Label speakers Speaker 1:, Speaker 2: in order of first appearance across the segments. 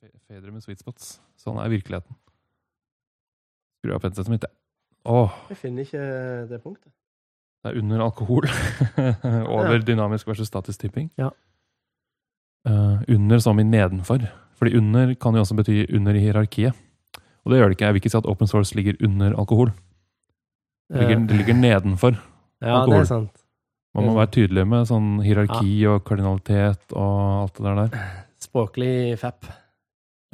Speaker 1: fe- fedre med sweet spots. Sånn er virkeligheten. Skru av headsetet mitt, jeg. Åh,
Speaker 2: Jeg finner ikke eh, det punktet.
Speaker 1: det er under alkohol. Over dynamisk versus statisk tipping.
Speaker 2: Ja.
Speaker 1: Eh, under som i nedenfor. Fordi under kan jo også bety under i hierarkiet. Og det gjør det ikke. Jeg vil ikke si at open source ligger under alkohol. Det
Speaker 2: Eh.
Speaker 1: ligger, det ligger nedenfor.
Speaker 2: ja, det
Speaker 1: alkohol.
Speaker 2: er sant.
Speaker 1: Man må være tydelig med sånn hierarki og kardinalitet og alt det der der.
Speaker 2: Språklig fapp.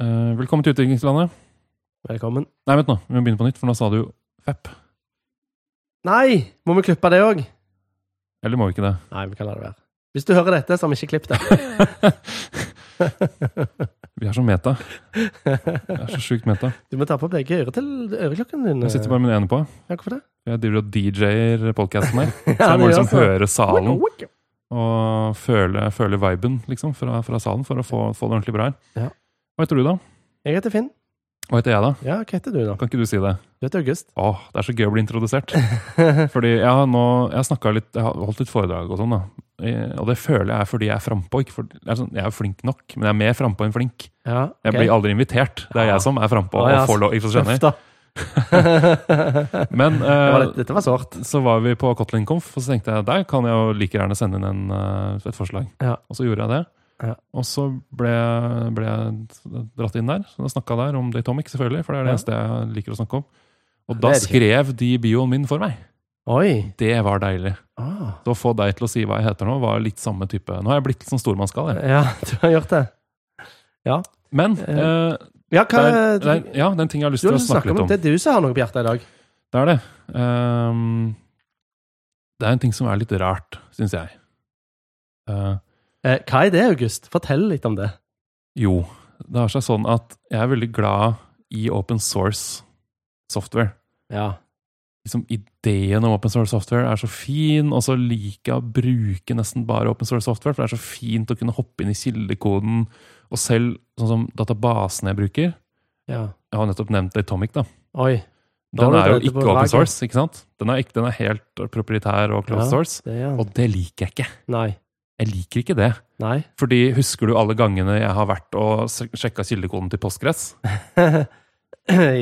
Speaker 1: Eh, velkommen til utviklingslandet.
Speaker 2: Velkommen.
Speaker 1: Nei, vent nå. Vi må begynne på nytt, for nå sa du jo FEP.
Speaker 2: Nei! Må vi klippe det òg?
Speaker 1: Eller må vi ikke det?
Speaker 2: Nei, vi kan la det være. Hvis du hører dette, så har vi ikke klippet det.
Speaker 1: Vi er så meta. Vi er så sjukt meta.
Speaker 2: du må ta på begge øre til øreklokken din.
Speaker 1: Jeg sitter bare med den ene på.
Speaker 2: Ja, hvorfor det?
Speaker 1: Jeg driver og DJ-er podkasten her.
Speaker 2: Ja,
Speaker 1: Så jeg må
Speaker 2: det gjør
Speaker 1: liksom
Speaker 2: så.
Speaker 1: høre salen og føle, føle viben liksom, fra, fra salen for å få, få det ordentlig bra
Speaker 2: Ja.
Speaker 1: her. Hva heter du, da?
Speaker 2: Jeg heter Finn.
Speaker 1: Hva heter jeg, da?
Speaker 2: Ja, hva heter du, da?
Speaker 1: Kan ikke du si det?
Speaker 2: Du heter August.
Speaker 1: Åh, det er så gøy å bli introdusert. Fordi jeg har nå Jeg har snakket litt Jeg har holdt litt foredrag og sånn, da. Eh, Og det føler jeg er fordi jeg er frampå. ikke for- Jeg er sånn, jeg er jo flink nok, men jeg er mer frampå enn flink.
Speaker 2: Ja,
Speaker 1: Jeg blir aldri invitert. Det er
Speaker 2: Ja.
Speaker 1: jeg som er frampå
Speaker 2: Å, Ah. ja,
Speaker 1: og får lov. Ikke så skjønner.
Speaker 2: da.
Speaker 1: Men eh,
Speaker 2: Det var litt- Dette var sårt.
Speaker 1: så var vi på Kotlin Conf, og så tenkte jeg der kan jeg jo like gjerne sende inn en, eh, et forslag.
Speaker 2: Ja.
Speaker 1: Og så gjorde jeg det.
Speaker 2: Ja.
Speaker 1: Og så ble, jeg- ble jeg dratt inn der. Så snakka der om Datomic, selvfølgelig, for det er det
Speaker 2: Ja.
Speaker 1: eneste jeg liker å snakke om. Og
Speaker 2: Det
Speaker 1: da
Speaker 2: er det
Speaker 1: skrev de bioen min for meg.
Speaker 2: Oi.
Speaker 1: Det var deilig.
Speaker 2: Ah.
Speaker 1: Så å få deg til å si hva jeg heter nå, var litt samme type. Nå har jeg blitt litt sånn stormannsgal. jeg.
Speaker 2: Ja, du har gjort det.
Speaker 1: Men
Speaker 2: Eh,
Speaker 1: eh,
Speaker 2: Ja,
Speaker 1: det
Speaker 2: hva
Speaker 1: er- det er- ja, det er en ting jeg har lyst
Speaker 2: Du
Speaker 1: til
Speaker 2: har
Speaker 1: å
Speaker 2: lyst til å
Speaker 1: snakke
Speaker 2: snakke
Speaker 1: litt om.
Speaker 2: om det er du som har noe på hjertet i dag.
Speaker 1: Det er det. Ehm, det er en ting som er litt rart, syns jeg. Eh,
Speaker 2: Eh, hva er det, August? Fortell litt om det.
Speaker 1: jo, det har seg sånn at jeg er veldig glad i open source software.
Speaker 2: Ja.
Speaker 1: Liksom Ideen om open source software er så fin, og så liker jeg å bruke nesten bare open source software, for det er så fint å kunne hoppe inn i kildekoden. Og selv sånn som databasen jeg bruker Jeg har nettopp nevnt Datomic, da.
Speaker 2: Oi. Da
Speaker 1: Den
Speaker 2: var
Speaker 1: er jo
Speaker 2: det på
Speaker 1: ikke open
Speaker 2: vraket.
Speaker 1: source, ikke sant? Den er, ikke, den er helt proprietær og closed
Speaker 2: Ja.
Speaker 1: source.
Speaker 2: Det er han.
Speaker 1: Og det liker jeg ikke.
Speaker 2: Nei.
Speaker 1: Jeg liker ikke det.
Speaker 2: Nei.
Speaker 1: Fordi husker du alle gangene jeg har vært og s- sjekka kildekoden til Postgres?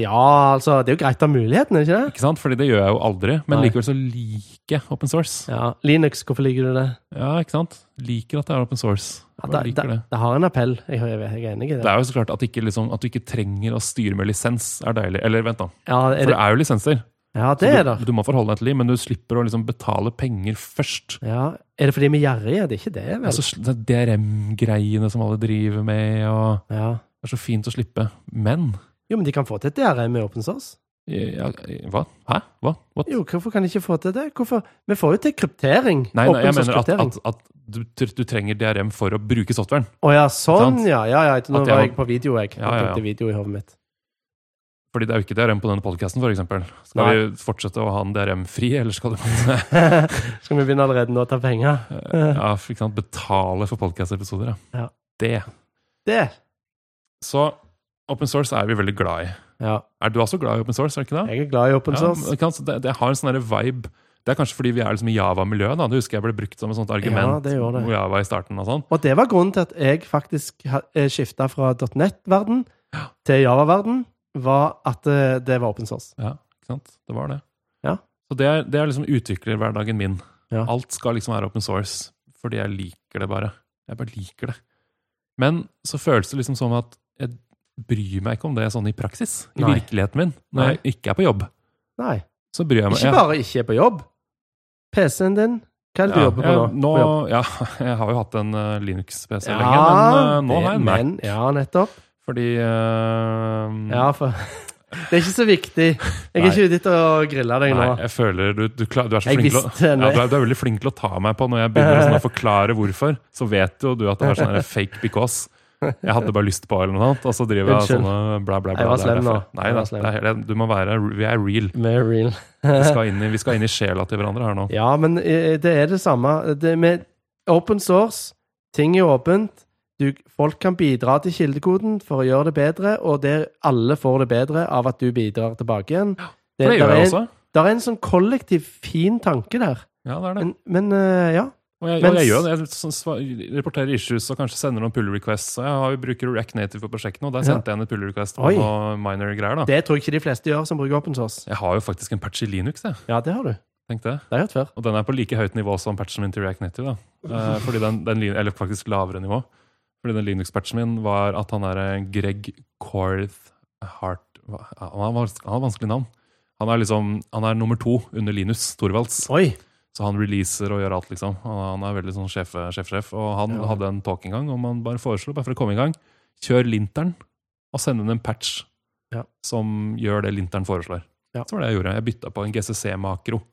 Speaker 2: ja, altså, det er jo greit å ha muligheten, er det ikke det?
Speaker 1: Ikke sant? Fordi det gjør jeg jo aldri. Men
Speaker 2: Nei.
Speaker 1: likevel så liker jeg open source.
Speaker 2: Ja. Linux, hvorfor liker du det?
Speaker 1: Ja, ikke sant? Liker at det er open source.
Speaker 2: Ja,
Speaker 1: Bare
Speaker 2: det,
Speaker 1: liker
Speaker 2: det,
Speaker 1: det.
Speaker 2: det har en appell. Jeg, jeg, jeg er enig i
Speaker 1: Det
Speaker 2: det.
Speaker 1: er jo så klart at, ikke liksom, at du ikke trenger å styre med lisens, er deilig. Eller vent, da.
Speaker 2: Ja,
Speaker 1: For
Speaker 2: er
Speaker 1: det
Speaker 2: det,
Speaker 1: er jo lisenser.
Speaker 2: ja,
Speaker 1: Så
Speaker 2: det er det.
Speaker 1: du, du må forholde deg til dem, men du slipper å liksom betale penger først.
Speaker 2: Ja. Er det fordi vi er gjerrige? Det er ikke det, vel?
Speaker 1: Altså, sl- det DRM-greiene som alle driver med, og
Speaker 2: Ja.
Speaker 1: det er så fint å slippe. Men
Speaker 2: Jo, men de kan få til et DRM i open source.
Speaker 1: ja, ja, Hva? Hæ? Hva? What?
Speaker 2: Jo, hvorfor kan de ikke få til det? Hvorfor? Vi får jo til kryptering.
Speaker 1: Nei, nei, jeg
Speaker 2: open source
Speaker 1: mener at,
Speaker 2: kryptering.
Speaker 1: at, at du, tr- du trenger DRM for å bruke softwaren.
Speaker 2: Å ja, sånn,
Speaker 1: Sant?
Speaker 2: ja. ja, ja. Nå
Speaker 1: At jeg
Speaker 2: var
Speaker 1: har-
Speaker 2: jeg på video, jeg.
Speaker 1: Ja, ja, ja.
Speaker 2: Jeg tok video i hodet mitt.
Speaker 1: Fordi det er jo ikke DRM på denne podkasten, f.eks. Skal
Speaker 2: Nei.
Speaker 1: vi fortsette å ha den DRM-fri, eller skal du
Speaker 2: Skal vi begynne allerede nå å ta penger?
Speaker 1: ja, for ikke sant, betale for podkastepisoder? Ja.
Speaker 2: Ja.
Speaker 1: Det.
Speaker 2: Det!
Speaker 1: Så open source er vi veldig glad i.
Speaker 2: Ja.
Speaker 1: Er du også glad i open source? er du ikke det?
Speaker 2: Jeg er glad i open
Speaker 1: Ja,
Speaker 2: source.
Speaker 1: men ikke sant, så det, det har en sånn der vibe Det er kanskje fordi vi er liksom i Java-miljøet. da, Det husker jeg ble brukt som et sånt argument.
Speaker 2: Ja, det gjorde det.
Speaker 1: mot Java i starten og sånn.
Speaker 2: Og det var grunnen til at jeg faktisk skifta fra .net-verden til Java-verden, var at eh, det var open source.
Speaker 1: Ja, ikke sant? Det var det.
Speaker 2: Ja.
Speaker 1: Så det er, det er liksom utviklerhverdagen min.
Speaker 2: Ja.
Speaker 1: Alt skal liksom være open source, fordi jeg liker det bare. Jeg bare liker det. Men så føles det liksom som at jeg bryr meg ikke om det sånn i praksis. I
Speaker 2: Nei.
Speaker 1: virkeligheten min. Når
Speaker 2: Nei.
Speaker 1: jeg ikke er på jobb,
Speaker 2: Nei.
Speaker 1: så bryr jeg meg.
Speaker 2: Ikke bare ikke er på jobb. PC-en din Hva er det du
Speaker 1: ja,
Speaker 2: jobber på nå?
Speaker 1: jeg, nå
Speaker 2: På jobb?
Speaker 1: ja, jeg har jo hatt en eh, Linux-PC
Speaker 2: Ja,
Speaker 1: lenge, men eh, nå
Speaker 2: det-
Speaker 1: har jeg en Mac.
Speaker 2: men- Ja, nettopp.
Speaker 1: Fordi eh,
Speaker 2: Ja, for Det er ikke så viktig. Jeg er
Speaker 1: Nei.
Speaker 2: ikke ute etter å grille deg
Speaker 1: Nei,
Speaker 2: nå.
Speaker 1: jeg føler du, du, klar, du er så
Speaker 2: Jeg
Speaker 1: flink til å,
Speaker 2: visste
Speaker 1: ja,
Speaker 2: det.
Speaker 1: du, er, du er veldig flink til å ta meg på når jeg begynner å sånn å forklare hvorfor. Så vet jo du at det er sånn her fake because. Jeg hadde bare lyst på eller noe annet, og så driver jeg
Speaker 2: Unnskyld.
Speaker 1: sånne bla, bla, bla.
Speaker 2: Jeg var
Speaker 1: det er
Speaker 2: slem nå.
Speaker 1: derfor. Nei,
Speaker 2: Jeg var
Speaker 1: da,
Speaker 2: slem.
Speaker 1: det er, hele- du må være, vi er real.
Speaker 2: Mer real.
Speaker 1: Vi skal, inn i, vi skal inn i sjela til hverandre her nå.
Speaker 2: Ja, men eh, det er det samme. Det med open source, ting er åpent. Du, folk kan bidra til kildekoden for å gjøre det bedre, og der alle får det bedre av at du bidrar tilbake igjen.
Speaker 1: For det
Speaker 2: der
Speaker 1: gjør jeg
Speaker 2: er,
Speaker 1: også.
Speaker 2: der er en sånn kollektiv fin tanke der.
Speaker 1: Ja, det er det.
Speaker 2: Men, men eh, ja.
Speaker 1: Og jeg, og
Speaker 2: Mens-
Speaker 1: jeg gjør det. Jeg sånn sva- reporterer issues og kanskje sender noen pull requests. Og jeg har, bruker React Native på prosjektene, og der
Speaker 2: Ja.
Speaker 1: sendte jeg inn et pull request på
Speaker 2: Oi.
Speaker 1: noe minor-greier. da.
Speaker 2: Det tror jeg ikke de fleste gjør som bruker open source.
Speaker 1: Jeg har jo faktisk en patch i Linux, jeg.
Speaker 2: Ja, det har du.
Speaker 1: Tenk det.
Speaker 2: Det har jeg hørt før.
Speaker 1: Og den er på like høyt nivå som patchen min til React Native. da. Eh, fordi den, den, lin- Eller faktisk lavere nivå. Fordi den Linux-patchen min var at han er eh, Greg Corth Hart hva- Han har vans- han har vanskelig navn. Han er liksom, han er nummer to under Linus Torvalds.
Speaker 2: Oi!
Speaker 1: Så han releaser og gjør alt, liksom. Han, han er veldig sånn sjef, sjef, sjef. Og han
Speaker 2: Ja.
Speaker 1: hadde en talk en gang om han bare foreslo, bare for å komme i gang, kjør linteren og send inn en patch
Speaker 2: Ja.
Speaker 1: som gjør det linteren foreslår.
Speaker 2: Ja.
Speaker 1: Så var det jeg gjorde. Jeg bytta på en GCC-makro.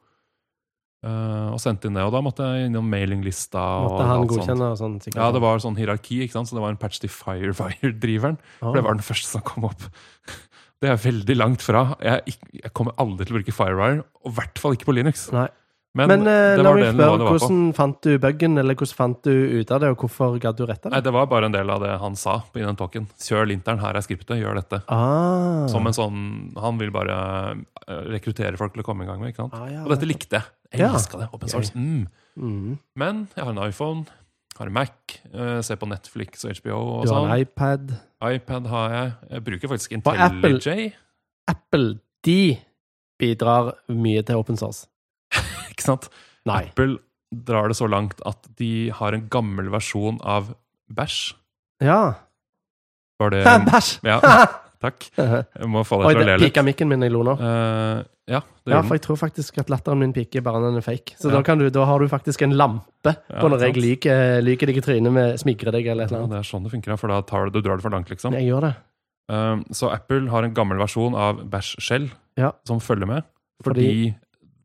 Speaker 1: eh, og sendte inn det. Og da måtte jeg innom mailinglista. og
Speaker 2: Måtte han
Speaker 1: alt sånt.
Speaker 2: godkjenne og sånn? sikkert.
Speaker 1: Ja, det var sånn hierarki, ikke sant? så det var en patch til Firewire-driveren. For det var den første som kom opp. Det er veldig langt fra. Jeg, er ikk- jeg kommer aldri til å bruke Firewire, og i hvert fall ikke på Linux.
Speaker 2: Nei.
Speaker 1: Men,
Speaker 2: Men eh,
Speaker 1: det
Speaker 2: la
Speaker 1: var
Speaker 2: meg
Speaker 1: det nivået
Speaker 2: spørre,
Speaker 1: det var på.
Speaker 2: hvordan fant du buggen, eller hvordan fant du ut av det, og hvorfor gadd du rette
Speaker 1: Nei,
Speaker 2: det?
Speaker 1: det var bare en del av det han sa i den talken. Kjør linteren, her er skriptet, gjør dette.
Speaker 2: Ah.
Speaker 1: Som en sånn Han vil bare eh, rekruttere folk til å komme i gang med. ikke sant?
Speaker 2: ah, ja,
Speaker 1: Og dette likte jeg. Jeg
Speaker 2: Ja.
Speaker 1: elska det. Open source. Mm.
Speaker 2: mm.
Speaker 1: Men jeg har en iPhone, har en Mac, eh, ser på Netflix og HBO og
Speaker 2: Du har
Speaker 1: sånn.
Speaker 2: en iPad.
Speaker 1: iPad har jeg. Jeg bruker faktisk
Speaker 2: På Apple.
Speaker 1: IntelliJ.
Speaker 2: Apple, de bidrar mye til open source.
Speaker 1: Ikke sant?
Speaker 2: Nei.
Speaker 1: Apple drar det så langt at de har en gammel versjon av Bæsj.
Speaker 2: Ja.
Speaker 1: Var det
Speaker 2: Bæsj!
Speaker 1: Ja, takk. Eh, Jeg må få deg
Speaker 2: Oi,
Speaker 1: til å
Speaker 2: det
Speaker 1: le litt.
Speaker 2: pika mikken min når jeg lo nå.
Speaker 1: Eh, ja, det gjorde
Speaker 2: Ja,
Speaker 1: den.
Speaker 2: for jeg tror faktisk at latteren min piker bare når den er fake. Så
Speaker 1: Ja.
Speaker 2: da, kan du, da har du faktisk en lampe
Speaker 1: Ja,
Speaker 2: på når jeg
Speaker 1: sant.
Speaker 2: lyker, lyker deg i trynet med smigrer deg eller et eller
Speaker 1: Ja,
Speaker 2: annet.
Speaker 1: det er sånn det funker, ja, for da tar du, du drar det for langt, liksom.
Speaker 2: Jeg gjør det.
Speaker 1: Um, så Apple har en gammel versjon av Bash Shell
Speaker 2: Ja.
Speaker 1: som følger med, fordi,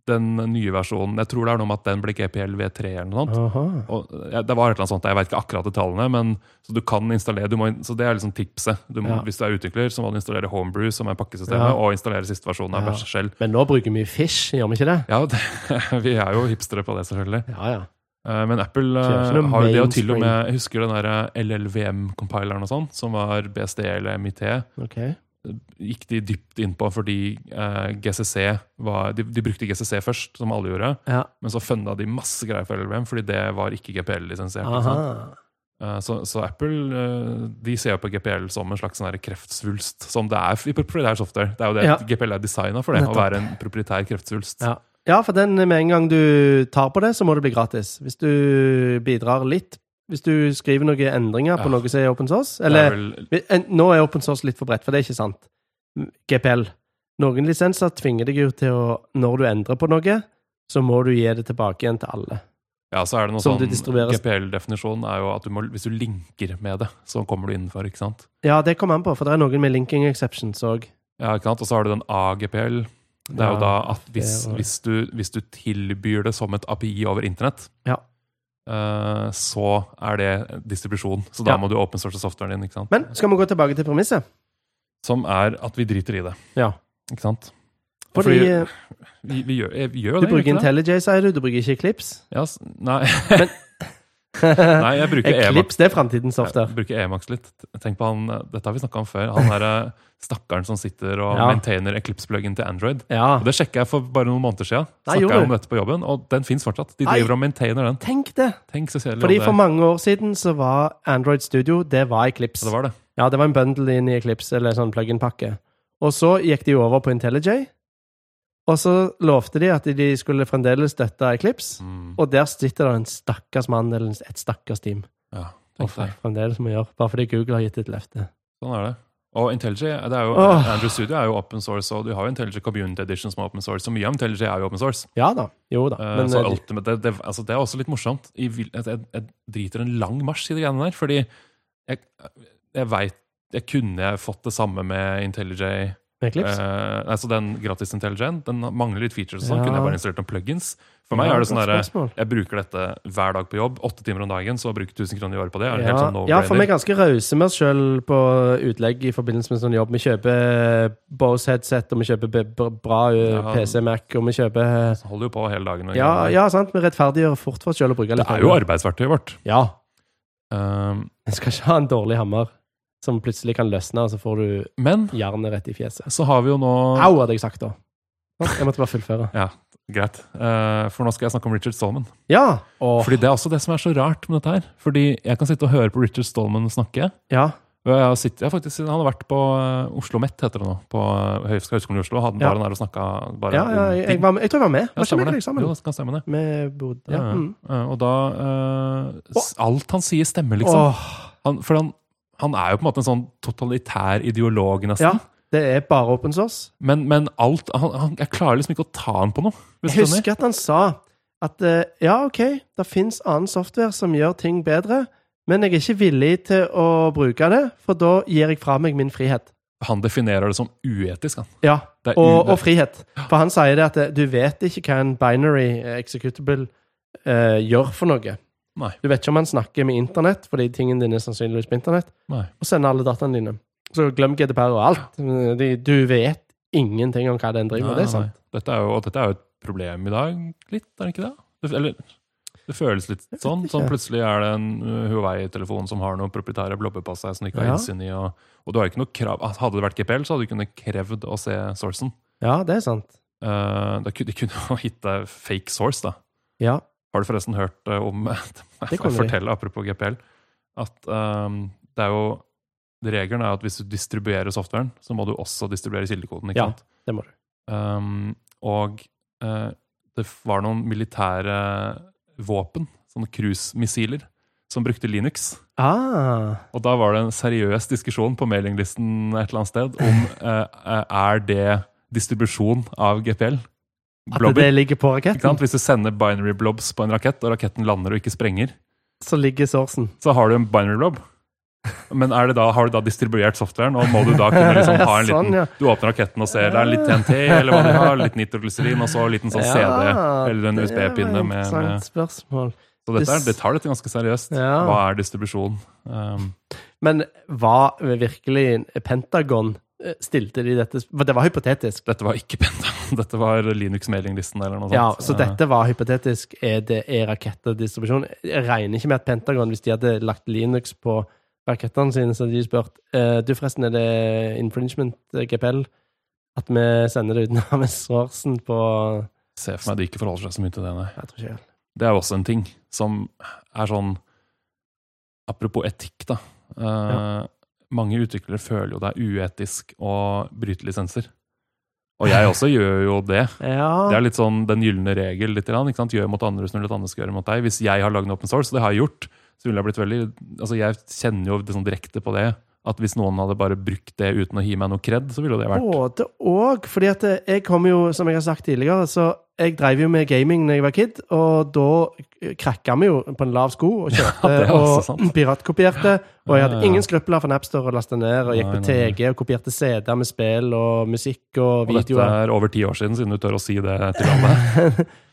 Speaker 1: den nye versjonen Jeg tror det er noe med at den blir GPL V3 eller noe sånt.
Speaker 2: Aha.
Speaker 1: Og, ja, det var et eller annet sånt, Jeg vet ikke akkurat detaljene, men så du kan installere du må, in- Så det er liksom tipset. Du må,
Speaker 2: Ja.
Speaker 1: Hvis du er utvikler, så må du installere Homebrew, som er pakkesystemet,
Speaker 2: Ja.
Speaker 1: og installere siste versjon av
Speaker 2: Ja.
Speaker 1: Bash Shell.
Speaker 2: Men nå bruker vi fish, gjør vi ikke det?
Speaker 1: Ja, det, vi er jo hipstere på det, selvfølgelig.
Speaker 2: Ja, ja.
Speaker 1: Eh, Men Apple
Speaker 2: Så det er ikke
Speaker 1: eh,
Speaker 2: noe
Speaker 1: har jo det, og til og
Speaker 2: mainstream.
Speaker 1: med Jeg husker den der eh, LLVM-compileren og sånn, som var BSD eller MIT.
Speaker 2: Ok.
Speaker 1: Gikk de dypt innpå fordi eh, GCC var de, de brukte GCC først, som alle gjorde,
Speaker 2: Ja.
Speaker 1: men så funda de masse greier for LLVM fordi det var ikke GPL-lisensiert. ikke
Speaker 2: Aha.
Speaker 1: sant? Eh, så, så Apple eh, de ser jo på GPL som en slags sånn der kreftsvulst, som det er i proprietær software. Det er jo det
Speaker 2: Ja.
Speaker 1: GPL er designa for, det, å
Speaker 2: Nettopp.
Speaker 1: være en proprietær kreftsvulst.
Speaker 2: Ja. ja, for den med en gang du tar på det, så må det bli gratis. Hvis du bidrar litt, hvis du skriver noen endringer på
Speaker 1: Ja.
Speaker 2: noe som er open source,
Speaker 1: Det er
Speaker 2: eller
Speaker 1: vel
Speaker 2: Vi- en- Nå er open source litt for bredt, for det er ikke sant. GPL. Noen lisenser tvinger deg jo til å Når du endrer på noe, så må du gi det tilbake igjen til alle.
Speaker 1: Ja, så er det noe
Speaker 2: Som
Speaker 1: sånn
Speaker 2: du distribuerer.
Speaker 1: GPL-definisjonen er jo at du må, hvis du linker med det, så kommer du innenfor, ikke sant?
Speaker 2: Ja, det kommer an på, for det er noen med linking exceptions òg.
Speaker 1: Ja, ikke sant? Og så har du den AGPL. Det er
Speaker 2: Ja,
Speaker 1: jo da at hvis,
Speaker 2: det var-
Speaker 1: hvis, du, hvis du tilbyr det som et API over internett,
Speaker 2: Ja.
Speaker 1: eh, så er det distribusjon. Så da
Speaker 2: Ja.
Speaker 1: må du open source softwaren din, ikke sant?
Speaker 2: Men skal vi gå tilbake til premisset?
Speaker 1: Som er at vi driter i det,
Speaker 2: Ja.
Speaker 1: ikke sant?
Speaker 2: Fordi
Speaker 1: Fordi
Speaker 2: eh,
Speaker 1: vi, vi gjør, eh, vi gjør jo
Speaker 2: du
Speaker 1: det, gjør
Speaker 2: bruker
Speaker 1: vi ikke det?
Speaker 2: IntelliJ, sier du. Du bruker ikke Eclipse.
Speaker 1: Ja, s- nei.
Speaker 2: Men-
Speaker 1: nei, jeg bruker EMAX.
Speaker 2: Eclipse det er framtidens software.
Speaker 1: Jeg bruker Emacs litt. Tenk på han, Dette har vi snakka om før. Han der eh, stakkaren som sitter og
Speaker 2: Ja.
Speaker 1: maintainer Eclipse-pluggen til Android.
Speaker 2: Ja.
Speaker 1: Og Det sjekka jeg for bare noen måneder siden.
Speaker 2: Nei,
Speaker 1: Snakket
Speaker 2: gjorde
Speaker 1: jeg om
Speaker 2: du?
Speaker 1: dette på jobben, og den fins fortsatt. De
Speaker 2: Nei.
Speaker 1: driver og maintainer den.
Speaker 2: Tenk det!
Speaker 1: Tenk så kjedelig
Speaker 2: Fordi
Speaker 1: om det
Speaker 2: for
Speaker 1: er.
Speaker 2: mange år siden så var Android Studio det var Eclipse.
Speaker 1: Så det var det.
Speaker 2: Ja, det var en bundle inn i Eclipse, eller sånn plug-in-pakke. Og så gikk de jo over på IntelliJ, og så lovte de at de skulle fremdeles støtte Eclipse,
Speaker 1: Mm.
Speaker 2: og der sitter det en stakkars mann, eller et stakkars team,
Speaker 1: Ja,
Speaker 2: og
Speaker 1: tenk deg.
Speaker 2: fremdeles må gjøre, bare fordi Google har gitt et løfte.
Speaker 1: Sånn er det. Og IntelliJ det er jo,
Speaker 2: Åh.
Speaker 1: Andrew Studio er jo open source, og du har jo IntelliJ Community Edition som er open source. Så mye av IntelliJ er jo open source.
Speaker 2: Ja da, jo da,
Speaker 1: Eh,
Speaker 2: men
Speaker 1: så
Speaker 2: eh, de-
Speaker 1: ultimate, det, det, altså det er også litt morsomt. Jeg, vil, altså, jeg, jeg, jeg driter en lang marsj i de greiene der, fordi jeg, jeg veit jeg kunne fått det samme med IntelliJ.
Speaker 2: Eclipse?
Speaker 1: Eh, altså den gratis IntelliJ-en. Den mangler litt features. og Sånn.
Speaker 2: Ja.
Speaker 1: Kunne jeg bare installert noen plugins? For meg
Speaker 2: Ja,
Speaker 1: er det sånn
Speaker 2: godt
Speaker 1: derre
Speaker 2: spørsmål.
Speaker 1: jeg bruker dette hver dag på jobb, åtte timer om dagen, så å bruke 1000 kroner i året på det. er en
Speaker 2: ja,
Speaker 1: helt sånn
Speaker 2: ja, for vi er
Speaker 1: no-brainer.
Speaker 2: ganske rause med oss sjøl på utlegg i forbindelse med sånn jobb. Vi kjøper eh, Bose headset, og vi kjøper b- b- bra eh,
Speaker 1: Ja.
Speaker 2: PC Mac, og vi kjøper eh,
Speaker 1: Så holder jo på hele dagen. med
Speaker 2: Ja,
Speaker 1: greiene.
Speaker 2: ja sant, vi rettferdiggjør fort for oss sjøl å bruke
Speaker 1: Det er jo arbeidsverktøyet vårt.
Speaker 2: Ja.
Speaker 1: Um,
Speaker 2: Jeg skal ikke ha en dårlig hammer som plutselig kan løsne, og så får du
Speaker 1: men
Speaker 2: jernet rett i fjeset.
Speaker 1: så har vi jo nå
Speaker 2: Au, hadde jeg sagt da. Sant? Jeg måtte bare fullføre.
Speaker 1: Ja, Greit. Eh, for nå skal jeg snakke om Richard Stallman.
Speaker 2: Ja! Og,
Speaker 1: Fordi Det er også det som er så rart med dette her. Fordi jeg kan sitte og høre på Richard Stallman snakke.
Speaker 2: ja.
Speaker 1: Og Jeg har sitt- jeg har faktisk, han har vært på eh, Oslo Met, heter det nå. På eh, Høgskolen i Oslo. Hadde
Speaker 2: Ja.
Speaker 1: bare der og snakket bare
Speaker 2: ja, ja
Speaker 1: om
Speaker 2: jeg,
Speaker 1: ting.
Speaker 2: jeg, var med, jeg tror jeg var med.
Speaker 1: Ja,
Speaker 2: Var ikke
Speaker 1: stemmer
Speaker 2: med
Speaker 1: det.
Speaker 2: deg sammen?
Speaker 1: Jo, det kan stemme det.
Speaker 2: Vi bodde ja.
Speaker 1: Ja, ja.
Speaker 2: Mm.
Speaker 1: Eh, Og da eh, s- Alt han sier, stemmer, liksom.
Speaker 2: Åh,
Speaker 1: Han, for han, han er jo på en måte en sånn totalitær ideolog,
Speaker 2: ja.
Speaker 1: nesten.
Speaker 2: Det er bare open source.
Speaker 1: Men, men alt han, han, Jeg klarer liksom ikke å ta han på noe. Hvis du
Speaker 2: Jeg
Speaker 1: skjønner.
Speaker 2: husker at han sa at eh, ja, OK, det fins annen software som gjør ting bedre, men jeg er ikke villig til å bruke det, for da gir jeg fra meg min frihet.
Speaker 1: Han definerer det som uetisk. Han.
Speaker 2: Ja,
Speaker 1: Det er u-
Speaker 2: og, og frihet. For han sier det at eh, du vet ikke hva en binary eh, executable eh, gjør for noe.
Speaker 1: Nei.
Speaker 2: Du vet ikke om han snakker med internett, fordi tingene dine er sannsynligvis på internett,
Speaker 1: Nei.
Speaker 2: og sender alle dataene dine. Så glem GDPR og alt. De, du vet ingenting om hva den driver med. Det er sant.
Speaker 1: Dette er jo, og dette er jo et problem i dag, litt, er det ikke det? det eller det føles litt
Speaker 2: vet
Speaker 1: sånn.
Speaker 2: ikke.
Speaker 1: sånn plutselig er det en uh, Huawei-telefon som har noen proprietære blobber på seg som du ikke har
Speaker 2: Ja.
Speaker 1: innsyn i. Og, og du har jo ikke noe krav. altså, Hadde det vært GPL, så hadde du kunnet krevd å se sourcen.
Speaker 2: Ja, det er sant.
Speaker 1: Eh, da kunne, de kunne jo hitte fake source, da.
Speaker 2: Ja.
Speaker 1: Har du forresten hørt eh, om Jeg
Speaker 2: Det
Speaker 1: får
Speaker 2: kommer vi.
Speaker 1: fortelle, apropos GPL, at ehm, det er jo Regelen er at hvis du distribuerer softwaren, så må du også distribuere kildekoden. ikke
Speaker 2: Ja.
Speaker 1: sant?
Speaker 2: Det må du.
Speaker 1: Ehm, og eh, det var noen militære våpen, sånne cruisemissiler, som brukte Linux.
Speaker 2: Ah,
Speaker 1: Og da var det en seriøs diskusjon på mailinglisten et eller annet sted om eh, er det distribusjon av GPL.
Speaker 2: at
Speaker 1: Blobber.
Speaker 2: det ligger på
Speaker 1: Ikke sant?
Speaker 2: raketten,
Speaker 1: Hvis du sender binary blobs på en rakett, og raketten lander og ikke sprenger,
Speaker 2: så ligger sourcen.
Speaker 1: så har du en binary blob. Men er det da, har du da distribuert softwaren, og må du da kunne liksom ha en liten
Speaker 2: Sånn, ja.
Speaker 1: Du åpner raketten og ser det er litt TNT, eller hva du har, litt nitroglycerin, og så en liten sånn CD.
Speaker 2: Ja,
Speaker 1: eller en
Speaker 2: det var
Speaker 1: USB-pinne med-
Speaker 2: interessant
Speaker 1: med-
Speaker 2: spørsmål.
Speaker 1: Så dette er, det tar dette ganske seriøst.
Speaker 2: Ja.
Speaker 1: Hva er distribusjon? Um,
Speaker 2: Men var virkelig Pentagon eh, Stilte de dette sp- For det var hypotetisk.
Speaker 1: dette var ikke Pentagon, dette var Linux-mailinglisten eller noe sånt.
Speaker 2: Ja, Så
Speaker 1: Eh,
Speaker 2: dette var hypotetisk. Er det er raketter distribusjon? Jeg regner ikke med at Pentagon, hvis de hadde lagt Linux på rakettene sine, så hadde de spurt eh, Du, forresten, er det infringement eh, GPL? At vi sender det uten å ha med sourcen på
Speaker 1: Se for meg de ikke forholder seg så mye til det, nei.
Speaker 2: Jeg tror ikke helt.
Speaker 1: Det er jo også en ting som er sånn Apropos etikk, da. Eh, Mange utviklere føler jo det er uetisk å bryte lisenser. Og jeg også gjør jo det. Det
Speaker 2: Ja,
Speaker 1: er litt sånn den gylne regel. litt, grann, ikke sant? Gjør mot andre som vil at andre skal gjøre mot deg. Hvis jeg har lagd en open source, og det har jeg gjort, så ville jeg blitt veldig Altså, jeg kjenner jo liksom direkte på det. At hvis noen hadde bare brukt det uten å gi meg noe kred, så ville jo det vært
Speaker 2: både òg. Fordi at eh, jeg kom jo, som jeg har sagt tidligere, så jeg drev jo med gaming da jeg var kid, og da eh, krakka vi jo på en lav sko og kjøpte
Speaker 1: det er også
Speaker 2: og
Speaker 1: sant.
Speaker 2: piratkopierte. Og
Speaker 1: Ja,
Speaker 2: jeg hadde
Speaker 1: ja, ja.
Speaker 2: ingen skrupler for Napster og laste ned, og gikk
Speaker 1: Nei,
Speaker 2: på
Speaker 1: nei, nei.
Speaker 2: TG og kopierte CD-er med spill og musikk
Speaker 1: Og
Speaker 2: og
Speaker 1: dette
Speaker 2: videoer.
Speaker 1: er over ti år siden, siden du tør å si det til alle.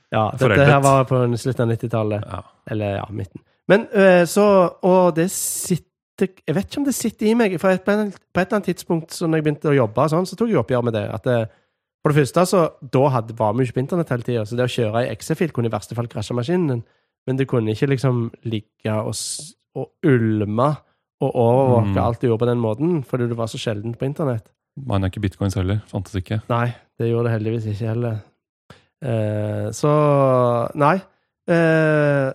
Speaker 2: Ja, dette
Speaker 1: foreldet.
Speaker 2: her var på en slutt av 90-tallet.
Speaker 1: Ja.
Speaker 2: Eller ja, midten. Men øh, så Og det sitter Jeg vet ikke om det sitter i meg. For et- på et på et eller annet tidspunkt så når jeg begynte å jobbe, og sånn, så tok jeg oppgjør med det. At eh, for det første, så da hadde, var vi jo ikke på internett hele tida, så det å kjøre i XE-fil kunne i verste fall krasje maskinen din. Men det kunne ikke liksom ligge og, s- og ulme og overvåke
Speaker 1: Mm.
Speaker 2: alt du gjorde på den måten, fordi du var så sjelden på internett.
Speaker 1: Man er ikke bitcoins heller. Fantes ikke.
Speaker 2: Nei, det gjorde det heldigvis ikke heller. Eh, så Nei. Eh,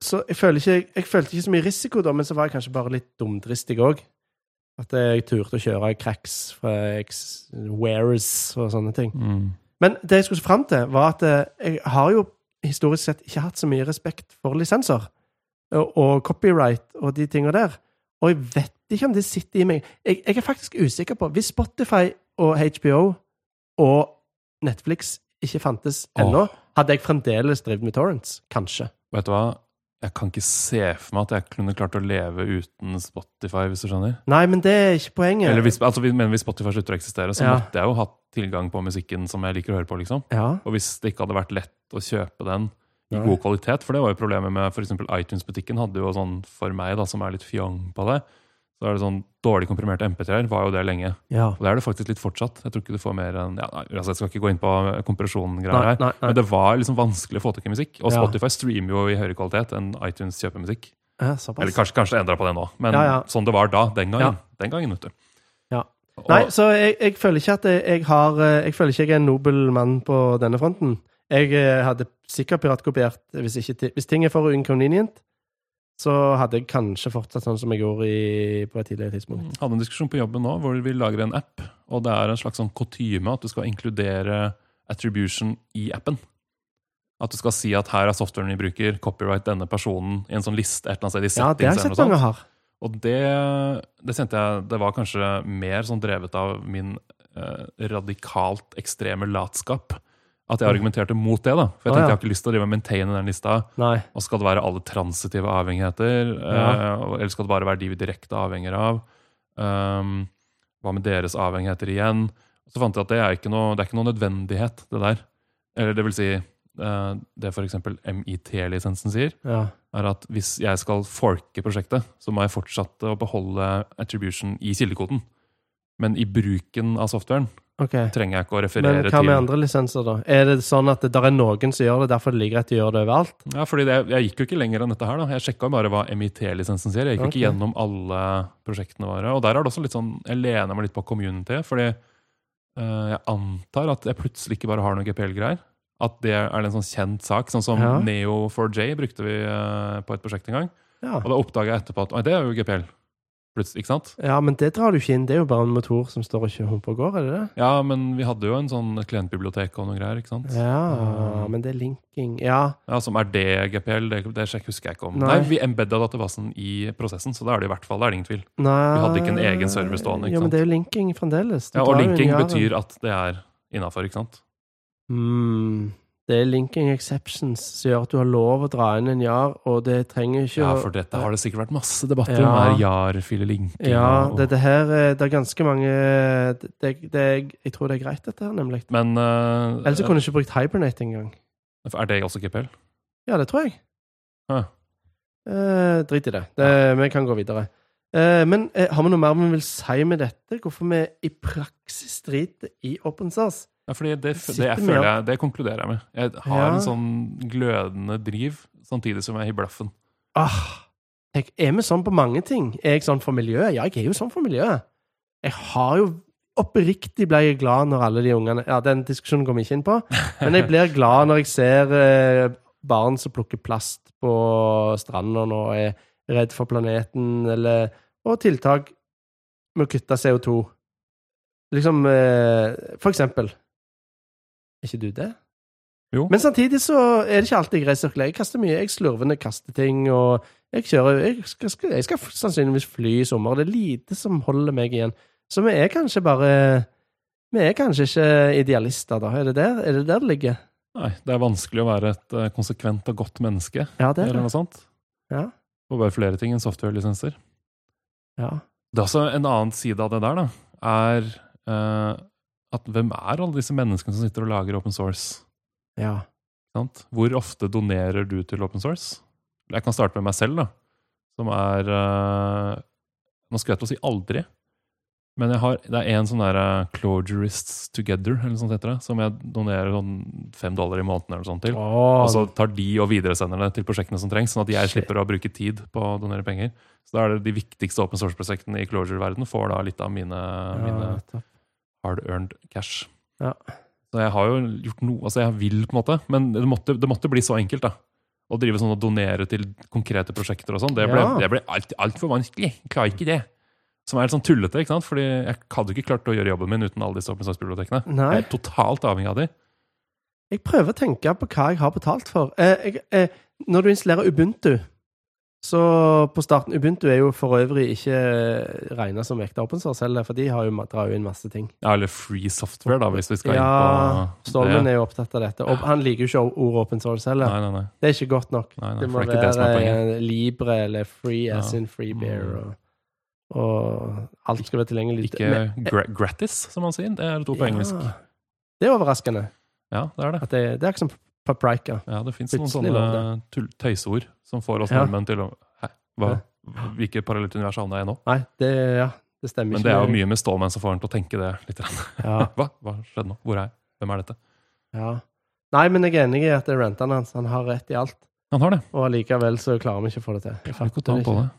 Speaker 2: så jeg føler ikke Jeg følte ikke så mye risiko da, men så var jeg kanskje bare litt dumdristig òg. At jeg turte å kjøre cracks fra X Wares og sånne ting.
Speaker 1: Mm.
Speaker 2: Men det jeg skulle fram til, var at eh, jeg har jo historisk sett ikke hatt så mye respekt for lisenser. Og, og copyright og de tinga der. Og jeg vet ikke om det sitter i meg jeg, jeg er faktisk usikker på Hvis Spotify og HBO og Netflix ikke fantes ennå, hadde jeg fremdeles drevet med torrents. Kanskje.
Speaker 1: Vet du hva? Jeg kan ikke se for meg at jeg kunne klart å leve uten Spotify, hvis du skjønner.
Speaker 2: Nei, men det er ikke poenget.
Speaker 1: Eller hvis, altså, vi- men hvis Spotify slutter å eksistere, så
Speaker 2: Ja.
Speaker 1: måtte jeg jo hatt tilgang på musikken som jeg liker å høre på, liksom.
Speaker 2: ja.
Speaker 1: Og hvis det ikke hadde vært lett å kjøpe den i
Speaker 2: Nei.
Speaker 1: god kvalitet, for det var jo problemet med f.eks. iTunes-butikken hadde jo sånn, for meg da, som er litt fjong på det, så er det sånn dårlig komprimerte MP3-er, var jo det lenge.
Speaker 2: ja.
Speaker 1: Og det er det faktisk litt fortsatt. Jeg tror ikke du får mer enn ja, nei, altså Jeg skal ikke gå inn på
Speaker 2: Nei,
Speaker 1: kompresjongreier her,
Speaker 2: nei, nei.
Speaker 1: men det var liksom vanskelig å få tak i musikk. Og
Speaker 2: Ja.
Speaker 1: Spotify streamer jo i høyere kvalitet enn iTunes kjøper musikk.
Speaker 2: Ja, såpass.
Speaker 1: Eller kanskje, kanskje det endra på det nå, men
Speaker 2: Ja, ja.
Speaker 1: sånn det var da, den
Speaker 2: Ja.
Speaker 1: gangen. Den gangen, vet du.
Speaker 2: Ja.
Speaker 1: Og,
Speaker 2: Nei, så jeg, jeg føler ikke at jeg, jeg har eh, Jeg føler ikke jeg er en nobel mann på denne fronten. Jeg eh, hadde sikkert piratkopiert hvis, ikke, ti- hvis ting er for inconvenient, så hadde jeg kanskje fortsatt sånn som jeg gjorde i, på et tidligere tidspunkt.
Speaker 1: hadde en diskusjon på jobben nå hvor vi lager en app, og det er en slags sånn kutyme at du skal inkludere attribution i appen. At du skal si at her er softwaren vi bruker, copyright denne personen i en sånn liste et eller annet sted i
Speaker 2: Ja, det har jeg
Speaker 1: settings. eller noe sånt.
Speaker 2: sett mange har.
Speaker 1: og det, det kjente jeg det var kanskje mer sånn drevet av min eh, radikalt ekstreme latskap. At jeg argumenterte mot det. da. For jeg tenkte
Speaker 2: Mm. Å,
Speaker 1: jeg
Speaker 2: ja.
Speaker 1: har ikke lyst til å drive og maintaine den lista.
Speaker 2: Nei.
Speaker 1: Og skal det være alle transitive avhengigheter?
Speaker 2: Ja.
Speaker 1: eh, eller skal det bare være de vi direkte avhenger av? Um, hva med deres avhengigheter igjen? Så fant jeg at det er ikke noe, det er ikke noe nødvendighet, det der. Eller det vil si, eh, det f.eks. MIT-lisensen sier,
Speaker 2: Ja.
Speaker 1: er at hvis jeg skal forke prosjektet, så må jeg fortsette å beholde attribution i kildekoden. Men i bruken av softwaren
Speaker 2: OK.
Speaker 1: trenger jeg ikke å
Speaker 2: Men
Speaker 1: referere
Speaker 2: hva
Speaker 1: til
Speaker 2: med andre lisenser, da? Er det sånn at det der er noen som gjør det, derfor det ligger at de gjør det overalt?
Speaker 1: Ja, fordi det, Jeg gikk jo ikke lenger enn dette her. da. Jeg sjekka bare hva MIT-lisensen sier. Jeg gikk jo
Speaker 2: Ok.
Speaker 1: ikke gjennom alle prosjektene våre. Og der er det også litt sånn, Jeg lener meg litt på community, fordi eh, jeg antar at jeg plutselig ikke bare har noen GPL-greier. At det er en sånn kjent sak. Sånn som
Speaker 2: Ja.
Speaker 1: Neo4j brukte vi eh, på et prosjekt en gang.
Speaker 2: Ja.
Speaker 1: Og da oppdaga jeg etterpå at «Oi, det er jo GPL. Plutselig, ikke sant?
Speaker 2: ja, men det drar du ikke inn. Det er jo bare en motor som står og ikke humper og går, er det det?
Speaker 1: Ja, men vi hadde jo en sånn klientbibliotek og noen greier, ikke sant?
Speaker 2: Ja,
Speaker 1: Mm.
Speaker 2: Ah, men det er linking. Ja,
Speaker 1: Ja, som er det GPL, det, det sjekk- husker jeg ikke om.
Speaker 2: Nei.
Speaker 1: Nei, vi embedda databasen i prosessen, så da er det i hvert fall, det er det ingen tvil.
Speaker 2: nei
Speaker 1: Vi hadde ikke en egen server stående, ikke
Speaker 2: Jo, men
Speaker 1: sant?
Speaker 2: det er jo linking fremdeles. Du
Speaker 1: Ja, og
Speaker 2: drar jo
Speaker 1: linking
Speaker 2: inn i
Speaker 1: betyr at det er innafor, ikke sant?
Speaker 2: Mm. Det er linking exceptions som gjør at du har lov å dra inn en jar, og det trenger ikke
Speaker 1: Ja,
Speaker 2: å-
Speaker 1: for dette har det sikkert vært masse debatter om.
Speaker 2: Ja.
Speaker 1: Er jar-file linking?
Speaker 2: Ja,
Speaker 1: og-
Speaker 2: dette her eh, Det er ganske mange det, det, det- Jeg tror det er greit, dette her, nemlig.
Speaker 1: Men eh,
Speaker 2: Ellers så kunne du ikke brukt Hibernate engang.
Speaker 1: er det også GPL?
Speaker 2: Ja, det tror jeg.
Speaker 1: Hæ.
Speaker 2: Eh, drit i det. det Vi kan gå videre. Eh, men eh, har vi noe mer vi vil si med dette? Hvorfor vi i praksis driter i open source?
Speaker 1: Ja, fordi det, det,
Speaker 2: Sitter
Speaker 1: jeg
Speaker 2: med
Speaker 1: føler jeg, det konkluderer jeg med. Jeg har
Speaker 2: Ja.
Speaker 1: en sånn glødende driv, samtidig som jeg er i blaffen.
Speaker 2: Ah, jeg er vi sånn på mange ting? Er jeg sånn for miljøet? Ja, jeg er jo sånn for miljøet. Jeg har jo Oppriktig ble jeg glad når alle de ungene Ja, den diskusjonen går vi ikke inn på, men jeg blir glad når jeg ser eh, barn som plukker plast på stranda nå og er redd for planeten, eller Og tiltak med å kutte CO2. Liksom eh, For eksempel. Er ikke du det?
Speaker 1: Jo.
Speaker 2: Men samtidig så er det ikke alltid jeg resirkulerer. Jeg kaster mye. Jeg slurver ned kasteting. Og jeg kjører Jeg skal, skal, jeg skal sannsynligvis fly i sommer. Det er lite som holder meg igjen. Så vi er kanskje bare Vi er kanskje ikke idealister, da. Er det der er det, der det ligger?
Speaker 1: Nei, det er vanskelig å være et eh, konsekvent og godt menneske,
Speaker 2: Ja, det er
Speaker 1: eller
Speaker 2: det.
Speaker 1: noe sånt.
Speaker 2: Ja.
Speaker 1: Og bare flere ting enn software-lisenser.
Speaker 2: Ja.
Speaker 1: Det er også en annen side av det der, da, er eh, at hvem er alle disse menneskene som sitter og lager open source?
Speaker 2: ja.
Speaker 1: Sant? Hvor ofte donerer du til open source? Jeg kan starte med meg selv, da. Som er eh, Nå skulle jeg til å si aldri. Men jeg har, det er en sånn der eh, Clojurists Together eller noe sånt heter det, som jeg donerer sånn fem dollar i måneden eller noe sånt til.
Speaker 2: Åh,
Speaker 1: Og så tar de og videresender det til prosjektene som trengs, sånn at jeg
Speaker 2: Shit.
Speaker 1: slipper å bruke tid på å donere penger. Så da er det de viktigste open source-prosjektene i Clojure-verdenen får da litt av mine, mine
Speaker 2: ja, topp.
Speaker 1: hard-earned cash.
Speaker 2: Ja.
Speaker 1: Så jeg har jo gjort noe, altså jeg vil på en måte, men det måtte, det måtte bli så enkelt da. Å drive sånn og donere til konkrete prosjekter og sånn, det ble,
Speaker 2: Ja.
Speaker 1: det ble alt, alt for vanskelig. Jeg klarer ikke det. Som er litt sånn tullete, ikke sant? Fordi jeg hadde ikke klart å gjøre jobben min uten alle disse open source-bibliotekene.
Speaker 2: Nei.
Speaker 1: Jeg er totalt avhengig av de.
Speaker 2: Jeg prøver å tenke på hva jeg har betalt for. Eh, jeg, eh, når du installerer Ubuntu så på starten, Ubuntu er jo for øvrig ikke eh, regnet som ekte open source heller, for de har jo, drar jo inn masse ting.
Speaker 1: Ja, eller free software da, hvis vi skal
Speaker 2: Ja,
Speaker 1: inn på
Speaker 2: Stolmen er jo opptatt av dette. Og han liker jo ikke ordet open source heller.
Speaker 1: Nei, nei, nei.
Speaker 2: Det er ikke godt nok.
Speaker 1: nei, nei
Speaker 2: Det
Speaker 1: for
Speaker 2: må
Speaker 1: det er ikke det som er
Speaker 2: være
Speaker 1: poenget.
Speaker 2: eh, Libre eller Free as
Speaker 1: Ja.
Speaker 2: in Free Beer og,
Speaker 1: Mm.
Speaker 2: og alt skal være tilgjengelig.
Speaker 1: Ikke gra gratis, som man sier. Det er litt ord på engelsk.
Speaker 2: Ja. Det er overraskende.
Speaker 1: Ja, det er det.
Speaker 2: At det, det er ikke som paprika.
Speaker 1: Ja, det fins noen sånne
Speaker 2: Plutselig lå
Speaker 1: tull- tøyseord som får oss
Speaker 2: Ja.
Speaker 1: nordmenn til å Hæ, hva? Hvilket parallelt univers havna jeg i nå?
Speaker 2: Nei, det, ja, det stemmer
Speaker 1: Men
Speaker 2: ikke.
Speaker 1: det er jo
Speaker 2: med-
Speaker 1: mye med stålmenn som får en til å tenke det litt. grann.
Speaker 2: Ja.
Speaker 1: Hva? hva skjedde nå? Hvor er jeg? Hvem er dette?
Speaker 2: Ja. Nei, men jeg er enig i at det er rentene hans. Han har rett i alt.
Speaker 1: Han har det.
Speaker 2: Og allikevel så klarer vi ikke å få det til.
Speaker 1: Jeg får ikke ta han
Speaker 2: det
Speaker 1: på det.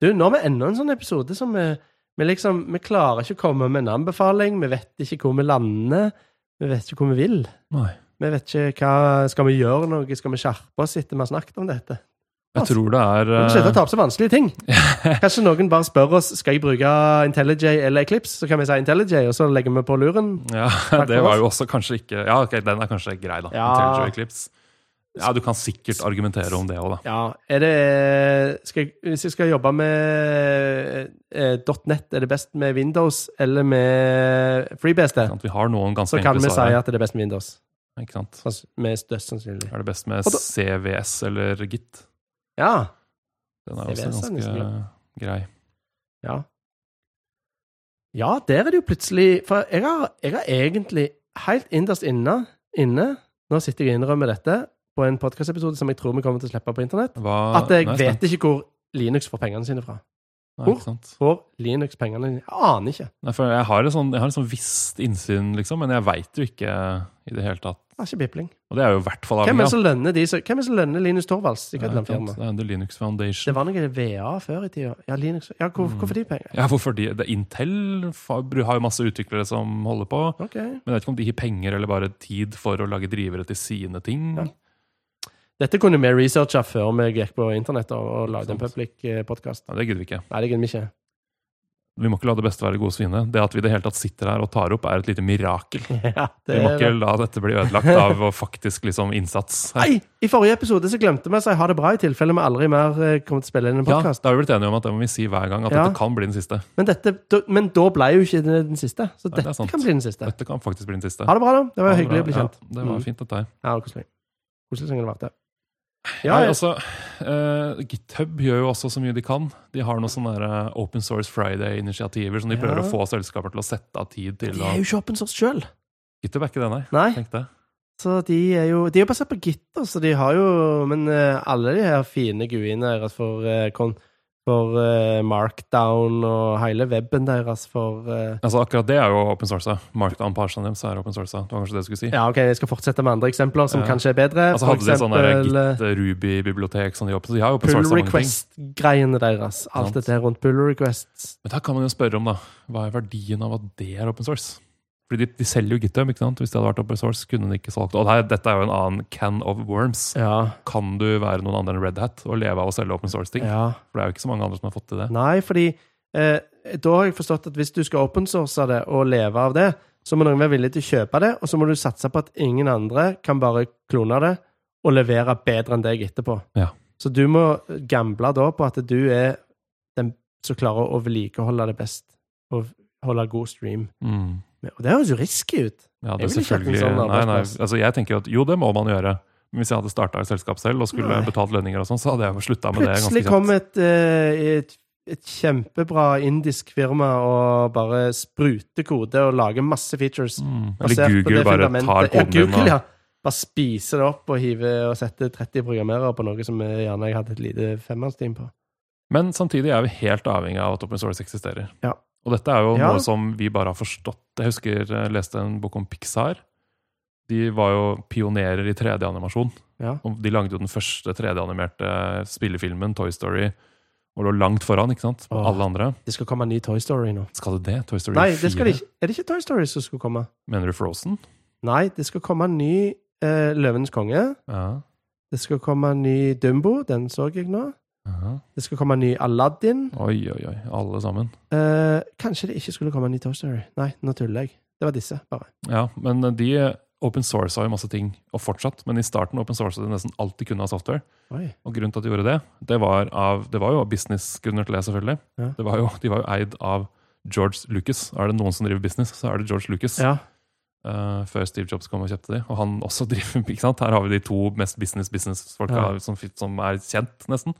Speaker 2: Du, nå har vi enda en sånn episode som vi, vi liksom Vi klarer ikke å komme med en anbefaling. Vi vet ikke hvor vi lander. Vi vet ikke hvor vi vil.
Speaker 1: Nei.
Speaker 2: Vi vet ikke hva Skal vi gjøre noe? Skal vi skjerpe oss etter vi har snakket om dette?
Speaker 1: Jeg tror det er
Speaker 2: Vi må
Speaker 1: eh,
Speaker 2: slutte å ta opp så vanskelige ting. Kanskje noen bare spør oss skal jeg bruke IntelliJ eller Eclipse, så kan vi si IntelliJ, og så legger vi på luren.
Speaker 1: eh, Ja,
Speaker 2: for
Speaker 1: det var
Speaker 2: oss.
Speaker 1: jo også kanskje ikke Ja, ok, den er kanskje grei, da.
Speaker 2: Ja.
Speaker 1: Intellijo Eclipse. Ja, du kan sikkert argumentere om det òg, da.
Speaker 2: Ja, er det skal jeg, Hvis jeg skal jobbe med eh, .net, er det best med Windows eller med FreeBSD?
Speaker 1: Ikke sant? Vi har noen ganske
Speaker 2: Så kan vi
Speaker 1: enkle
Speaker 2: si
Speaker 1: svar. her,
Speaker 2: at det er best med Windows.
Speaker 1: Ikke sant?
Speaker 2: Sanns- Med størst sannsynlig.
Speaker 1: Er det best med
Speaker 2: Og da-
Speaker 1: CVS eller Git?
Speaker 2: Ja.
Speaker 1: Den er også
Speaker 2: CVS er nesten
Speaker 1: ganske grei.
Speaker 2: Ja, ja der er det jo plutselig For jeg har, jeg har egentlig helt innerst inne, inne Nå sitter jeg og innrømmer dette på en podkastepisode som jeg tror vi kommer til å slippe på internett.
Speaker 1: Hva,
Speaker 2: At jeg
Speaker 1: Nå er spent.
Speaker 2: vet ikke hvor Linux får pengene sine fra.
Speaker 1: Nei,
Speaker 2: hvor.
Speaker 1: ikke sant?
Speaker 2: Får Linux pengene sine? Jeg aner ikke.
Speaker 1: Nei, for jeg har et sånn, jeg har et sånn visst innsyn, liksom, men jeg veit jo ikke i det hele tatt.
Speaker 2: Det er ikke pipling.
Speaker 1: Og det er jo i hvert fall
Speaker 2: Hvem er det
Speaker 1: avhengig av.
Speaker 2: som lønner, de, som- hvem er det som lønner Linus Torvalds?
Speaker 1: Nei,
Speaker 2: Ikke den
Speaker 1: ikke sant?
Speaker 2: firmaet.
Speaker 1: Det er The Linux Foundation.
Speaker 2: Det var noe VA før i tida. Ja, Linux Ja, hvor,
Speaker 1: Mm.
Speaker 2: hvorfor de penger?
Speaker 1: Ja, hvorfor de, det, Intel fa- bru- har jo masse utviklere som holder på.
Speaker 2: Ok.
Speaker 1: Men jeg vet ikke om de gir penger eller bare tid for å lage drivere til sine ting.
Speaker 2: Ja. Dette kunne vi researcha før vi gikk på internett og, og lagde en
Speaker 1: Sant.
Speaker 2: public podkast.
Speaker 1: Nei, det gidder vi ikke.
Speaker 2: Nei, det gidder vi ikke.
Speaker 1: Vi må ikke la det beste være det gode svine. Det at vi i det hele tatt sitter her og tar opp, er et lite mirakel.
Speaker 2: Ja, det
Speaker 1: Vi må
Speaker 2: er-
Speaker 1: ikke la dette bli ødelagt av å faktisk liksom innsats. her.
Speaker 2: Nei, i forrige episode så glemte vi å si ha det bra, i tilfelle vi aldri mer eh, kommer til å spille inn en
Speaker 1: Ja, da
Speaker 2: podkast.
Speaker 1: har vi blitt enige om at det må vi si hver gang, at
Speaker 2: Ja.
Speaker 1: dette kan bli den siste.
Speaker 2: Men, dette- da- men da ble jo ikke det den siste, så
Speaker 1: Nei, det er
Speaker 2: dette
Speaker 1: sant.
Speaker 2: kan bli den siste.
Speaker 1: Dette kan faktisk bli den siste.
Speaker 2: Ha det bra, da. Det var
Speaker 1: Ha det
Speaker 2: hyggelig
Speaker 1: bra.
Speaker 2: å bli kjent.
Speaker 1: Ja, det var
Speaker 2: Mm.
Speaker 1: fint, dette her.
Speaker 2: Ja, det var koselig. Koselig som det har vært, det. Ja,
Speaker 1: Ja,
Speaker 2: jeg-
Speaker 1: altså, eh, GitHub gjør jo også så mye de kan. De har noen sånne der, eh, Open Source Friday-initiativer som de
Speaker 2: Ja.
Speaker 1: prøver å få selskaper til å sette av tid til.
Speaker 2: de
Speaker 1: å-
Speaker 2: er jo ikke open source sjøl.
Speaker 1: GitHub er ikke det, nei.
Speaker 2: Nei,
Speaker 1: Tenk det.
Speaker 2: så de er jo De er jo basert på Git, da, så de har jo Men eh, alle de her fine GUI-ene deres for, eh, kon- for eh, markdown og hele weben deres for eh,
Speaker 1: Altså, akkurat det er jo open source. da. Markdown-parsene deres er open source. da. Det var kanskje det du skulle si.
Speaker 2: Ja, OK, jeg skal fortsette med andre eksempler som
Speaker 1: Ja.
Speaker 2: kanskje er bedre. eh,
Speaker 1: Altså, hadde de sånne der Git-Ruby-bibliotek som de jobber så De har jo open source
Speaker 2: Pull
Speaker 1: av sånn mange ting.
Speaker 2: request-greiene deres.
Speaker 1: Sant.
Speaker 2: Alt dette her rundt pull requests.
Speaker 1: Men da kan man jo spørre om, da, hva er verdien av at det er open source? Fordi de, de selger jo GitHub, ikke sant? Hvis det hadde vært open source, kunne de ikke solgt Og nei, dette er jo en annen can of worms.
Speaker 2: Ja,
Speaker 1: Kan du være noen andre enn Red Hat og leve av å selge open source-ting?
Speaker 2: ja.
Speaker 1: For det er jo ikke så mange andre som har fått til det.
Speaker 2: Nei, fordi eh, da har jeg forstått at hvis du skal opensource det og leve av det, så må noen være villig til å kjøpe det, og så må du satse på at ingen andre kan bare klone det og levere bedre enn deg etterpå.
Speaker 1: Ja.
Speaker 2: Så du må gamble da på at du er den som klarer å vedlikeholde det best, og holde god stream.
Speaker 1: Mm.
Speaker 2: Og det høres jo risky ut.
Speaker 1: Ja, det er
Speaker 2: Jeg ville ikke hatt en
Speaker 1: selvfølgelig
Speaker 2: sånn
Speaker 1: nei, nei,
Speaker 2: arbeidsplass.
Speaker 1: altså Jeg tenker jo at jo, det må man gjøre. Men hvis jeg hadde starta et selskap selv og skulle
Speaker 2: Nei.
Speaker 1: betalt lønninger, og sånn, så hadde jeg jo slutta med det ganske
Speaker 2: Plutselig
Speaker 1: kjapt.
Speaker 2: kom et, eh, et, et kjempebra indisk firma og bare spruter kode og lager masse features.
Speaker 1: Mm.
Speaker 2: basert
Speaker 1: Eller
Speaker 2: på
Speaker 1: Google
Speaker 2: det
Speaker 1: bare
Speaker 2: fundamentet.
Speaker 1: tar koden
Speaker 2: ja,
Speaker 1: din.
Speaker 2: Google,
Speaker 1: Og,
Speaker 2: ja. Bare spiser det opp og hiver og setter 30 programmerere på noe som eh, gjerne jeg hadde et lite femmannsteam på.
Speaker 1: Men samtidig er vi helt avhengig av at open source eksisterer.
Speaker 2: Ja.
Speaker 1: Og dette er jo
Speaker 2: Ja.
Speaker 1: noe som vi bare har forstått. Jeg husker jeg leste en bok om Pixar. De var jo pionerer i 3D-animasjon.
Speaker 2: Ja.
Speaker 1: Og De lagde jo den første 3D-animerte spillefilmen, Toy Story, og lå langt foran ikke sant, på
Speaker 2: Åh.
Speaker 1: alle andre.
Speaker 2: Det skal komme en ny Toy Story nå.
Speaker 1: Skal det det? Toy Story
Speaker 2: Nei,
Speaker 1: 4?
Speaker 2: det skal det ikke. Er det ikke Toy Story som skulle komme?
Speaker 1: Mener du Frozen?
Speaker 2: Nei, det skal komme en ny eh, Løvenes konge.
Speaker 1: Ja.
Speaker 2: Det skal komme en ny Dumbo. Den så jeg nå.
Speaker 1: Aha.
Speaker 2: Det skal komme en ny Aladdin.
Speaker 1: Oi, oi, oi. Alle sammen.
Speaker 2: Eh, kanskje det ikke skulle komme en ny Toy Story. Nei, nå tuller jeg. Det var disse, bare.
Speaker 1: Ja, men de open source har jo masse ting, og fortsatt. Men i starten open source det nesten alt de kunne av software.
Speaker 2: Oi.
Speaker 1: Og grunnen til at de gjorde det, det var, av, det var jo av businessgrunner til det, selvfølgelig.
Speaker 2: Ja.
Speaker 1: Det var jo, de var jo eid av George Lucas. Er det noen som driver business, så er det George Lucas.
Speaker 2: Ja.
Speaker 1: Eh, før Steve Jobs kom og kjøpte de. Og han også driver ikke sant? Her har vi de to mest business-business-folka
Speaker 2: Ja.
Speaker 1: som, fi- som er kjent, nesten.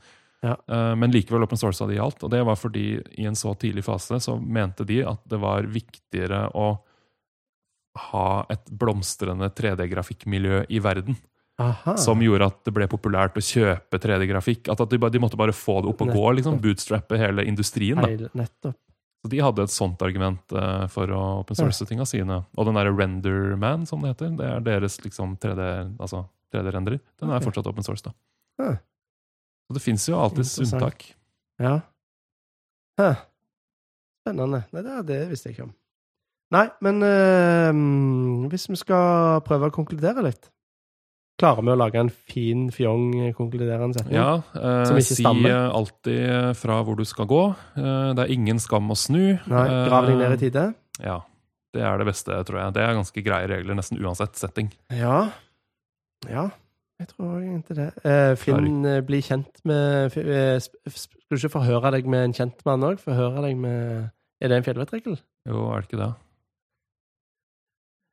Speaker 2: Ja.
Speaker 1: Eh, men likevel open source av de alt. Og det var fordi i en så tidlig fase så mente de at det var viktigere å ha et blomstrende 3D-grafikkmiljø i verden.
Speaker 2: Aha.
Speaker 1: Som gjorde at det ble populært å kjøpe 3D-grafikk. At, at de, bare- de måtte bare få det opp og gå. liksom, Bootstrappe hele industrien. da.
Speaker 2: Heil- Nettopp.
Speaker 1: Så de hadde et sånt argument eh, for å open source tinga sine. Og den derre Renderman, som det heter, det er deres liksom 3D, altså 3D-renderer. Den er
Speaker 2: Ok.
Speaker 1: fortsatt open source, da.
Speaker 2: Huh.
Speaker 1: Så det fins jo alltids
Speaker 2: Interessant.
Speaker 1: unntak.
Speaker 2: Ja. Hæ. Spennende. Nei, det, det visste jeg ikke om. Nei, men eh, hvis vi skal prøve å konkludere litt Klarer vi å lage en fin, fjong konkluderende setning?
Speaker 1: Ja, eh,
Speaker 2: Som ikke
Speaker 1: si
Speaker 2: stammer.
Speaker 1: eh, alltid fra hvor du skal gå. Eh, det er ingen skam å snu.
Speaker 2: Nei, Grav deg ned i
Speaker 1: tid.
Speaker 2: tide?
Speaker 1: Ja. Det er det beste, tror jeg. Det er ganske greie regler, nesten uansett setting.
Speaker 2: Ja. Ja. Jeg tror egentlig det. Eh, Finn, eh, bli kjent med f- eh, sp- f- Skal du ikke forhøre deg med en kjentmann òg? Forhøre deg med Er det en fjellvettregel?
Speaker 1: Jo, er det ikke det?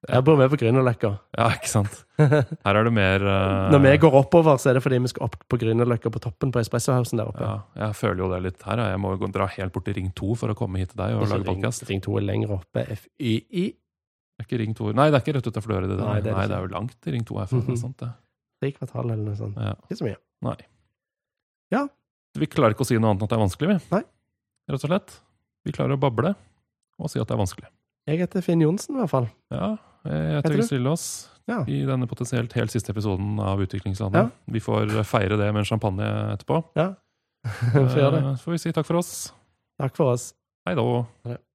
Speaker 1: Ja.
Speaker 2: Jeg bor med på Grünerløkka.
Speaker 1: Ja, ikke sant?
Speaker 2: Når
Speaker 1: Her er det mer eh,
Speaker 2: vi går oppover, så er det fordi vi skal opp på Grünerløkka, på toppen på Espressohausen der oppe.
Speaker 1: eh, ja, Jeg føler jo det litt her. ja. Jeg må jo gå, dra helt bort til Ring 2 for å komme hit til deg og
Speaker 2: Ikke
Speaker 1: lage
Speaker 2: ring,
Speaker 1: podkast.
Speaker 2: ring to er lenger oppe. FYI.
Speaker 1: Det er ikke Ring 2 Nei, det er ikke rett utenfor døra. Det, der.
Speaker 2: Nei, det Mhm.
Speaker 1: Nei,
Speaker 2: er det ikke.
Speaker 1: det er jo langt sånn til Ring 2 herfra. det er sant, det.
Speaker 2: Tre kvartal eller noe sånt.
Speaker 1: Ja.
Speaker 2: Ikke så mye.
Speaker 1: Vi klarer ikke å si noe annet enn at det er vanskelig, vi.
Speaker 2: Nei.
Speaker 1: Rett og slett. Vi klarer å bable og si at det er vanskelig.
Speaker 2: Jeg heter Finn Johnsen, i hvert fall.
Speaker 1: Ja, eh, jeg
Speaker 2: Heter
Speaker 1: heter
Speaker 2: du?
Speaker 1: Stille oss
Speaker 2: Ja.
Speaker 1: i denne potensielt helt siste episoden av Utviklingslandet. Vi får feire det med en champagne etterpå.
Speaker 2: Får gjøre det.
Speaker 1: Eh, Så får vi si takk for oss.
Speaker 2: Takk for oss.
Speaker 1: Hei da.
Speaker 2: Ha det.